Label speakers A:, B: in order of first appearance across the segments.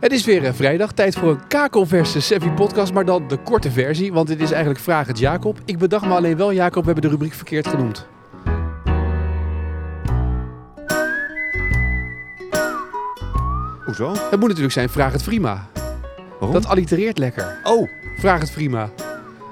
A: Het is weer eh, vrijdag, tijd voor een kakelverse Savvy podcast, maar dan de korte versie, want dit is eigenlijk Vraag het Jacob. Ik bedacht me alleen wel, Jacob, we hebben de rubriek verkeerd genoemd.
B: Hoezo?
A: Het moet natuurlijk zijn Vraag het Vrima.
B: Waarom?
A: Dat allitereert lekker.
B: Oh,
A: Vraag het Vrima.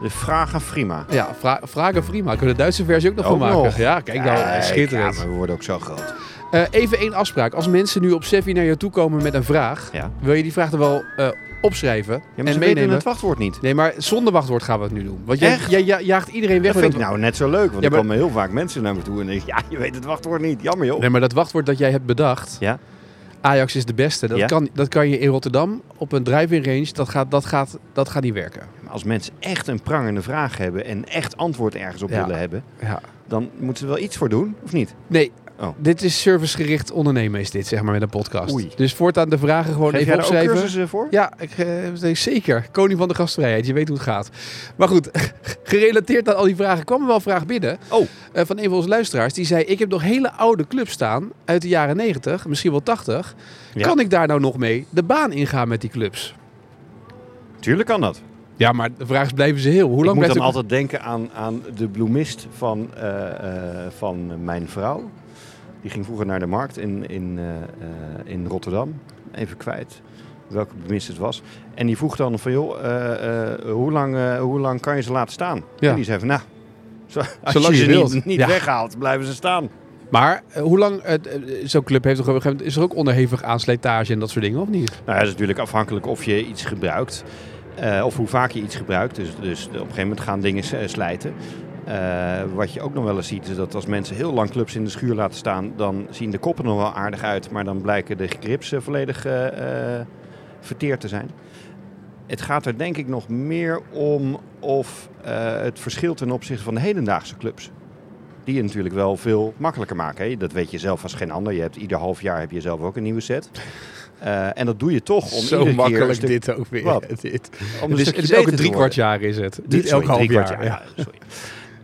B: de vraag aan Frima.
A: Ja, vra Vraag het Vrima. Kunnen we de Duitse versie ook nog van
B: Ook
A: maken?
B: nog.
A: Ja, kijk nou, eh, schitterend.
B: Ja, maar we worden ook zo groot.
A: Eh, even één afspraak. Als mensen nu op Savvy naar jou toe komen met een vraag,
B: Ja.
A: wil je die vraag dan wel eh, opschrijven
B: Ja, maar
A: en
B: ze weten
A: meenemen?
B: het wachtwoord niet.
A: Nee, maar zonder wachtwoord gaan we het nu doen. Want jij,
B: Echt?
A: jij ja- jaagt iedereen weg
B: Dat
A: met
B: vind ik
A: dat-
B: nou net zo leuk, want
A: Ja,
B: er
A: maar-
B: komen heel vaak mensen naar me toe en ik ja, je weet het wachtwoord niet. Jammer joh.
A: Nee, maar dat wachtwoord dat jij hebt bedacht.
B: Oh. Ja.
A: Ajax is de beste. Dat,
B: Ja.
A: kan, dat kan je in Rotterdam op een drive-in range. Dat gaat, dat, gaat, dat gaat niet werken.
B: Maar Als mensen echt een prangende vraag hebben en echt antwoord ergens op
A: Ja.
B: willen hebben,
A: Ja.
B: dan moeten ze er wel iets voor doen, of niet?
A: Nee,
B: Oh.
A: dit is servicegericht ondernemen is dit, zeg maar, met een podcast.
B: Oei.
A: Dus voortaan de vragen gewoon
B: Geef jij
A: even
B: daar ook
A: opschrijven.
B: cursussen voor?
A: Ja, ik, eh, zeker. Koning van de gastvrijheid. Je weet hoe het gaat. Maar goed, gerelateerd aan al die vragen kwam er wel een vraag binnen.
B: Oh.
A: eh, van een van onze luisteraars. Die zei, ik heb nog hele oude clubs staan uit de jaren 90, misschien wel 80.
B: Ja.
A: Kan ik daar nou nog mee de baan ingaan met die clubs?
B: Tuurlijk kan dat.
A: Ja, maar de vraag is, blijven ze heel? Hoe
B: Ik
A: lang
B: moet
A: blijft
B: dan
A: het?
B: altijd denken aan, aan de bloemist van, eh, eh, van mijn vrouw. Die ging vroeger naar de markt in, in, eh, eh, in Rotterdam. Even kwijt welke bloemist het was. En die vroeg dan van, joh, eh, eh, hoe, lang, eh, hoe lang kan je ze laten staan?
A: Ja.
B: En die zei van, nou, zo, als
A: Zolang
B: je
A: je
B: ze
A: wilt.
B: niet, niet
A: Ja.
B: weghaalt, blijven ze staan.
A: Maar eh, hoe lang, eh, eh, zo'n club heeft toch op een gegeven moment, is er ook onderhevig aan slijtage en dat soort dingen, of niet?
B: Nou, dat is natuurlijk afhankelijk of je iets gebruikt. eh, of hoe vaak je iets gebruikt. Dus, dus op een gegeven moment gaan dingen s- eh, slijten. Eh, wat je ook nog wel eens ziet, is dat als mensen heel lang clubs in de schuur laten staan, dan zien de koppen nog wel aardig uit. Maar dan blijken de grips eh, volledig eh, eh, verteerd te zijn. Het gaat er denk ik nog meer om of eh, het verschil ten opzichte van de hedendaagse clubs. Die het natuurlijk wel veel makkelijker maken. Hè? Dat weet je zelf als geen ander. Je hebt, ieder half jaar heb je zelf ook een nieuwe set. Eh, en dat doe je toch om
A: Zo
B: iedere keer
A: makkelijk
B: een stuk-
A: dit ook weer.
B: Wat?
A: Dit.
B: om
A: Het is,
B: stukje
A: Dus het is ook
B: beter
A: een
B: te worden.
A: driekwart jaar is het.
B: Dit-
A: Niet elk
B: sorry,
A: half
B: drie
A: jaar.
B: kwart
A: ja.
B: ja, sorry.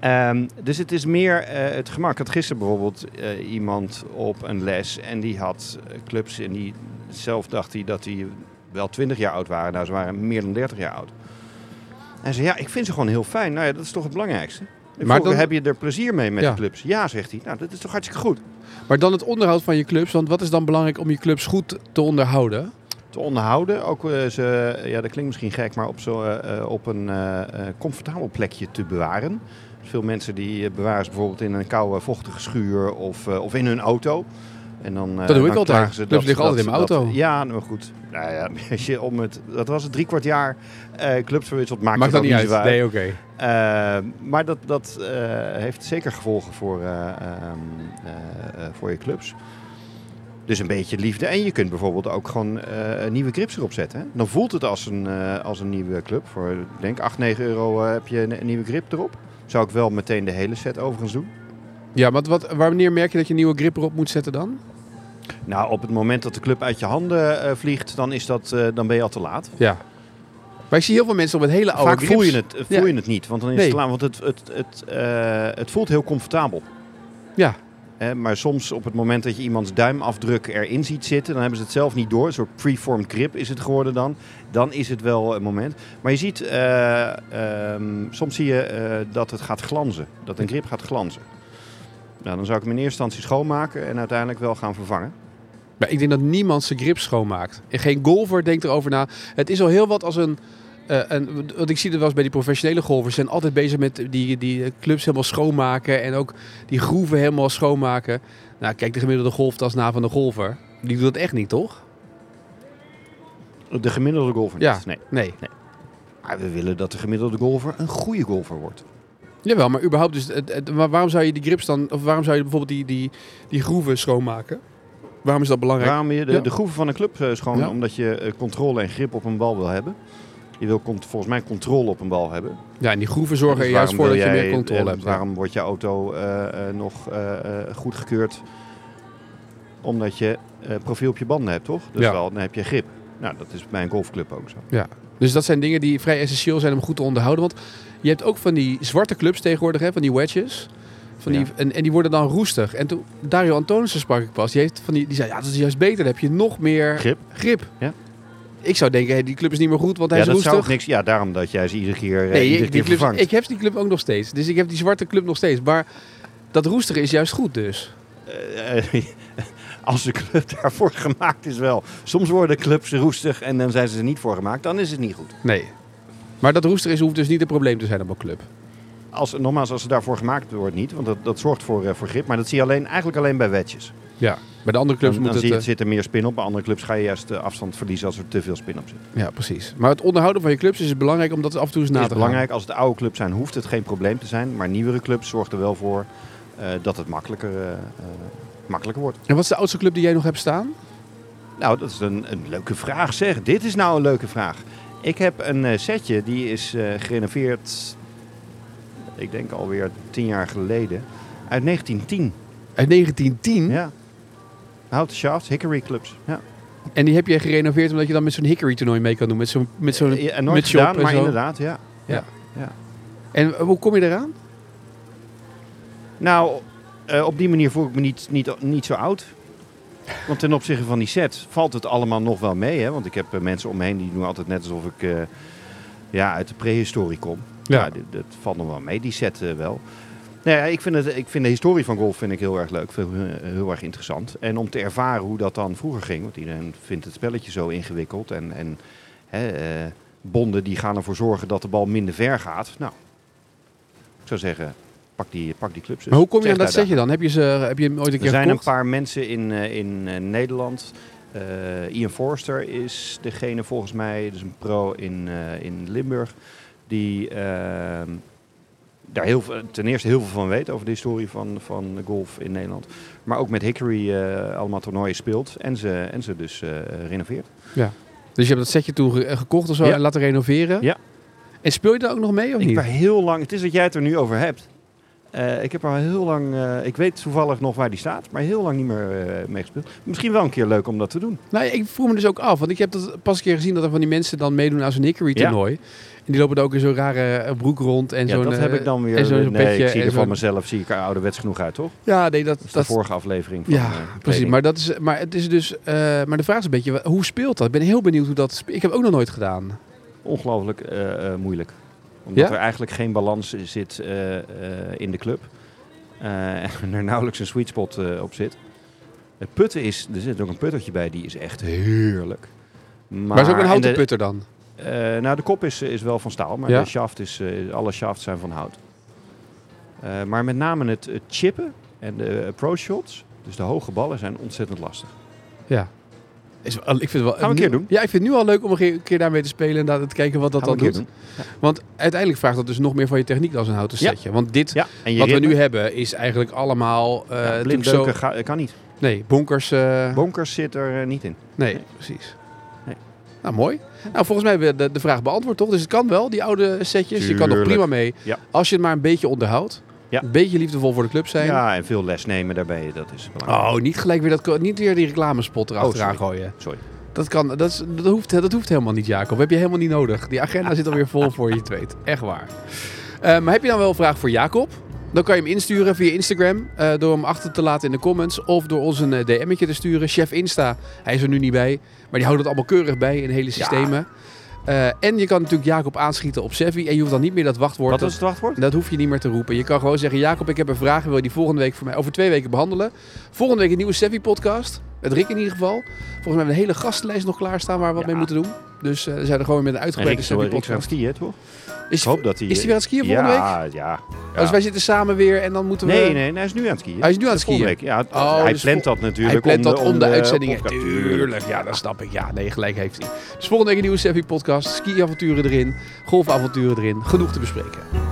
B: Ehm, dus het is meer eh, het gemak. Ik had gisteren bijvoorbeeld eh, iemand op een les en die had eh, clubs en die zelf dacht hij dat die wel 20 jaar oud waren. Nou, ze waren meer dan 30 jaar oud. En zei, ja, ik vind ze gewoon heel fijn. Nou ja, dat is toch het belangrijkste. Maar
A: Maar dan-
B: heb je er plezier mee met
A: Ja.
B: de clubs? Ja, zegt hij. Nou, dat is toch hartstikke goed.
A: Maar dan het onderhoud van je clubs. Want wat is dan belangrijk om je clubs goed te onderhouden?
B: te onderhouden. Ook eh, ze, ja, dat klinkt misschien gek, maar op, zo, eh, eh, op een eh, eh, comfortabel plekje te bewaren. Veel mensen die eh, bewaren ze bijvoorbeeld in een koude, vochtige schuur of, eh, of in hun auto. En dan, eh,
A: Dat doe ik
B: dan
A: altijd.
B: klagen
A: Clubs liggen altijd in mijn
B: dat-
A: auto.
B: ja, nou goed. Nou ja, als je om het, dat was het drie kwart jaar eh, clubs verwisselt, maakt,
A: Maakt
B: het
A: dat
B: ook
A: niet uit.
B: zoveel
A: Nee, oké.
B: eh, maar dat, dat eh, heeft zeker gevolgen voor, eh, ehm, eh, eh, voor je clubs. Dus een beetje liefde. En je kunt bijvoorbeeld ook gewoon eh, nieuwe grips erop zetten. Hè? Dan voelt het als een, eh, als een nieuwe club. Voor ik denk 8, 9 euro eh, heb je een, een nieuwe grip erop. Zou ik wel meteen de hele set overigens doen.
A: Ja, maar wat, wanneer merk je dat je een nieuwe grip erop moet zetten dan?
B: Nou, op het moment dat de club uit je handen eh, vliegt, dan, is dat, eh, dan ben je al te laat.
A: Ja. Maar ik zie heel veel mensen op met hele oude
B: Vaak
A: grips.
B: voel je, het, eh, voel
A: Ja.
B: je het niet, want dan is
A: Nee.
B: het te laat. Want het, het, het, eh, het voelt heel comfortabel.
A: Ja.
B: Hè, maar soms op het moment dat je iemands duimafdruk erin ziet zitten, dan hebben ze het zelf niet door. Een soort preformed grip is het geworden dan. Dan is het wel een moment. Maar je ziet, eh, ehm, soms zie je eh, dat het gaat glanzen. Dat een grip gaat glanzen. Nou, dan zou ik hem in eerste instantie schoonmaken en uiteindelijk wel gaan vervangen.
A: Maar ik denk dat niemand zijn grip schoonmaakt. En geen golfer denkt erover na. Het is al heel wat als een... eh, een want ik zie dat wel eens bij die professionele golfers. Ze zijn altijd bezig met die, die clubs helemaal schoonmaken. En ook die groeven helemaal schoonmaken. Nou, kijk de gemiddelde golftas na van de golfer. Die doet dat echt niet, toch?
B: De gemiddelde golfer niet.
A: Ja.
B: Nee.
A: Nee.
B: Maar we willen dat de gemiddelde golfer een goede golfer wordt.
A: Jawel, maar überhaupt dus... Het, het- waar- waarom zou je die grips dan... Of waarom zou je bijvoorbeeld die, die, die groeven schoonmaken? Waarom is dat belangrijk?
B: Waarom je de,
A: Ja.
B: de groeven van een club eh, schoon?
A: Ja.
B: Omdat je eh, controle en grip op een bal wil hebben. Je wil cont- volgens mij controle op een bal hebben.
A: Ja, en die groeven zorgen er
B: Dus
A: juist voor
B: waarom
A: dat
B: wil
A: je
B: jij-
A: meer controle
B: eh,
A: hebt. ja.
B: Waarom wordt je auto eh, eh, nog eh, eh, goedgekeurd? Omdat je eh, profiel op je banden hebt, toch? Dus
A: Ja.
B: wel, dan heb je grip. Nou, dat is bij een golfclub ook zo.
A: Dus dat zijn dingen die vrij essentieel zijn om goed te onderhouden. Want je hebt ook van die zwarte clubs tegenwoordig, hè, van die wedges. Van die,
B: Ja.
A: en, en die worden dan roestig. En toen Dario Antonissen sprak ik pas. Die, heeft van die, die zei, ja, dat is juist beter. Dan heb je nog meer
B: Grip.
A: grip.
B: Ja.
A: Ik zou denken, hé, die club is niet meer goed, want hij
B: ja,
A: is
B: dat zou ook
A: roestig.
B: niks. Ja, daarom dat jij ze iedere keer, eh,
A: Nee,
B: iedere
A: die
B: keer
A: clubs-
B: vervangt.
A: ik heb die club ook nog steeds. Dus ik heb die zwarte club nog steeds. Maar dat roestige is juist goed dus.
B: Eh, als de club daarvoor gemaakt is wel. Soms worden clubs roestig en dan zijn ze er niet voor gemaakt. Dan is het niet goed.
A: Nee. Maar dat roestig is hoeft dus niet een probleem te zijn op een club.
B: Als, nogmaals, als ze daarvoor gemaakt wordt niet. Want dat, dat zorgt voor, eh, voor grip. Maar dat zie je alleen, eigenlijk alleen bij wedjes.
A: Ja. Bij de andere clubs
B: Dan,
A: moet
B: dan
A: het...
B: zie je,
A: eh,
B: het zit er meer spin op. Bij andere clubs ga je juist de afstand verliezen als er te veel spin op zit.
A: eh, ja, precies. Maar het onderhouden van je clubs is dus belangrijk omdat het af en toe eens na
B: Het
A: te
B: is
A: gaan.
B: belangrijk. Als het oude clubs zijn, hoeft het geen probleem te zijn. Maar nieuwere clubs zorgt er wel voor eh, dat het makkelijker, eh, eh, makkelijker wordt.
A: En wat is de oudste club die jij nog hebt staan?
B: Nou, dat is een, een leuke vraag zeg. Dit is nou een leuke vraag. Ik heb een eh, setje, die is eh, gerenoveerd, ik denk alweer tien jaar geleden, uit 1910.
A: Uit 1910.
B: Ja. Houten shafts, hickory clubs. Ja.
A: En die heb jij gerenoveerd omdat je dan met zo'n hickory toernooi mee kan doen. Met zo'n... Met zo'n
B: Ja, en nooit
A: met shop
B: gedaan,
A: en
B: maar
A: zo.
B: inderdaad, ja.
A: En eh, hoe kom je eraan?
B: Nou, eh, op die manier voel ik me niet, niet, niet zo oud. Want ten opzichte van die set valt het allemaal nog wel mee. Hè? Want ik heb eh, mensen om me heen die doen altijd net alsof ik eh, ja, uit de prehistorie kom. Ja. dit- dat valt nog wel mee, die set eh, wel. Nou ja, ik, vind het, ik vind de historie van golf vind ik heel erg leuk, vind, ik, eh, heel erg interessant. En om te ervaren hoe dat dan vroeger ging, want iedereen vindt het spelletje zo ingewikkeld. En, en hè, eh, bonden die gaan ervoor zorgen dat de bal minder ver gaat. Nou, ik zou zeggen, pak die, pak die clubs. eens.
A: Maar hoe kom je
B: Het
A: aan
B: is
A: dat
B: echt uitdagend.
A: setje dan? Heb je, ze, eh, heb je hem ooit een
B: Er
A: keer
B: zijn een
A: gekocht?
B: paar mensen in, eh, in eh, Nederland. Eh, Ian Forster is degene volgens mij, dus een pro in, eh, in Limburg, die ehm, daar heel, veel- ten eerste heel veel van weet over de historie van, van de golf in Nederland. Maar ook met Hickory eh, allemaal toernooien speelt en ze, en ze dus eh, renoveert.
A: Dus je hebt dat setje toen ge- eh, gekocht of zo
B: Ja.
A: en laten renoveren?
B: Ja.
A: En speel je daar ook nog mee of
B: Ik
A: niet?
B: heb er heel lang, het is dat jij het er nu over hebt. Eh, ik heb er heel lang, eh, ik weet toevallig nog waar die staat, maar heel lang niet meer eh, mee gespeeld. Misschien wel een keer leuk om dat te doen.
A: Nou, ik vroeg me dus ook af, want ik heb dat pas een keer gezien dat er van die mensen dan meedoen aan zo'n hickory
B: Ja.
A: toernooi. En die lopen daar ook in zo'n rare eh, broek rond en
B: Ja,
A: zo'n...
B: dat heb
A: eh,
B: ik dan weer.
A: en zo'n
B: nee,
A: petje
B: ik zie
A: en
B: er van
A: zo'n-
B: mezelf zie ik er ouderwets genoeg uit, toch? Dat
A: Ja, nee, dat...
B: is
A: dat
B: de vorige aflevering van
A: ja,
B: eh,
A: precies.
B: kleding.
A: Maar, dat is, maar, het is dus, eh, maar de vraag is een beetje, wa- hoe speelt dat? Ik ben heel benieuwd hoe dat... spe- Ik heb ook nog nooit gedaan.
B: Ongelooflijk eh, eh, moeilijk. Omdat
A: Ja?
B: er eigenlijk geen balans zit eh, eh, in de club. Eh, en er nauwelijks een sweet spot eh, op zit. Het putten is, er zit ook een puttertje bij, die is echt heerlijk. Maar,
A: Maar, is ook een houten
B: en de-
A: putter dan?
B: eh, nou, de kop is, is wel van staal, maar
A: Ja.
B: de shaft is, eh, alle shafts zijn van hout. Eh, maar met name het, het chippen en de approach shots, dus de hoge ballen, zijn ontzettend lastig.
A: Ja. Is, wel- ik vind het wel,
B: Gaan we een keer
A: nu-
B: doen.
A: Ja, ik vind het nu al leuk om een keer- een keer daarmee te spelen en daar te kijken wat dat
B: Gaan
A: dan
B: we een
A: doet.
B: keer
A: Want uiteindelijk vraagt dat dus nog meer van je techniek dan zo'n houten
B: Ja.
A: setje. Want dit
B: Ja, en je
A: wat we
B: ritme?
A: nu hebben is eigenlijk allemaal... eh,
B: Ja,
A: natuurlijk zo,
B: blindleuken ga- kan niet.
A: nee, bonkers... eh,
B: Bonkers zit er eh, niet in.
A: nee,
B: Nee.
A: precies.
B: Nee.
A: Nou, mooi. Nou, volgens mij hebben we de, de vraag beantwoord, toch? Dus het kan wel, die oude setjes. Je kan nog
B: Tuurlijk.
A: prima mee.
B: Ja.
A: Als je het maar een beetje onderhoudt.
B: Ja.
A: Een beetje liefdevol voor de club zijn.
B: Ja, en veel les nemen daarbij, dat is belangrijk.
A: Oh, niet gelijk weer, dat, ko- niet weer die reclamespot erachteraan
B: Oh, sorry.
A: gooien.
B: Sorry.
A: Dat, kan, dat, is- dat, hoeft, dat hoeft helemaal niet, Jacob. Heb je helemaal niet nodig. Die agenda zit alweer vol voor je het weet. Echt waar. Eh, maar heb je dan wel een vraag voor Jacob? Dan kan je hem insturen via Instagram. eh, door hem achter te laten in de comments. Of door ons een eh, DM'tje te sturen. Chef Insta. Hij is er nu niet bij. Maar die houdt het allemaal keurig bij in hele systemen. Eh, en je kan natuurlijk Jacob aanschieten op Sevi. En je hoeft dan niet meer dat wachtwoord.
B: Wat
A: te-
B: is het wachtwoord?
A: dat hoef je niet meer te roepen. Je kan gewoon zeggen: Jacob, ik heb een vraag. Wil je die volgende week voor mij over twee weken behandelen? Volgende week een nieuwe Sevi podcast. Met Rick in ieder geval. Volgens mij hebben we een hele gastenlijst nog klaarstaan waar we wat
B: Ja.
A: mee moeten doen. Dus eh, dan zijn we gewoon weer met een
B: En Rick
A: uitgebreide
B: is wel-
A: Sevi
B: Rick is aan het
A: podcast.
B: skiën, toch?
A: Is,
B: Ik hoop dat hij...
A: is hij weer aan het skiën volgende week?
B: ja, Ja, ja.
A: Dus wij zitten samen weer en dan moeten we.
B: Nee, nee, hij is nu aan het skiën.
A: Hij is nu aan het
B: Volgende
A: skiën.
B: week, Ja, het-
A: Oh,
B: hij
A: dus
B: plant
A: vol-
B: dat natuurlijk eh,
A: Hij plant dat om de, uitzendingen.
B: podcast.
A: Tuurlijk, ja, dat snap ik. Ja, nee, gelijk heeft hij. Dus volgende week een nieuwe Sevi podcast. Skiavonturen erin, golfavonturen erin. Genoeg te bespreken.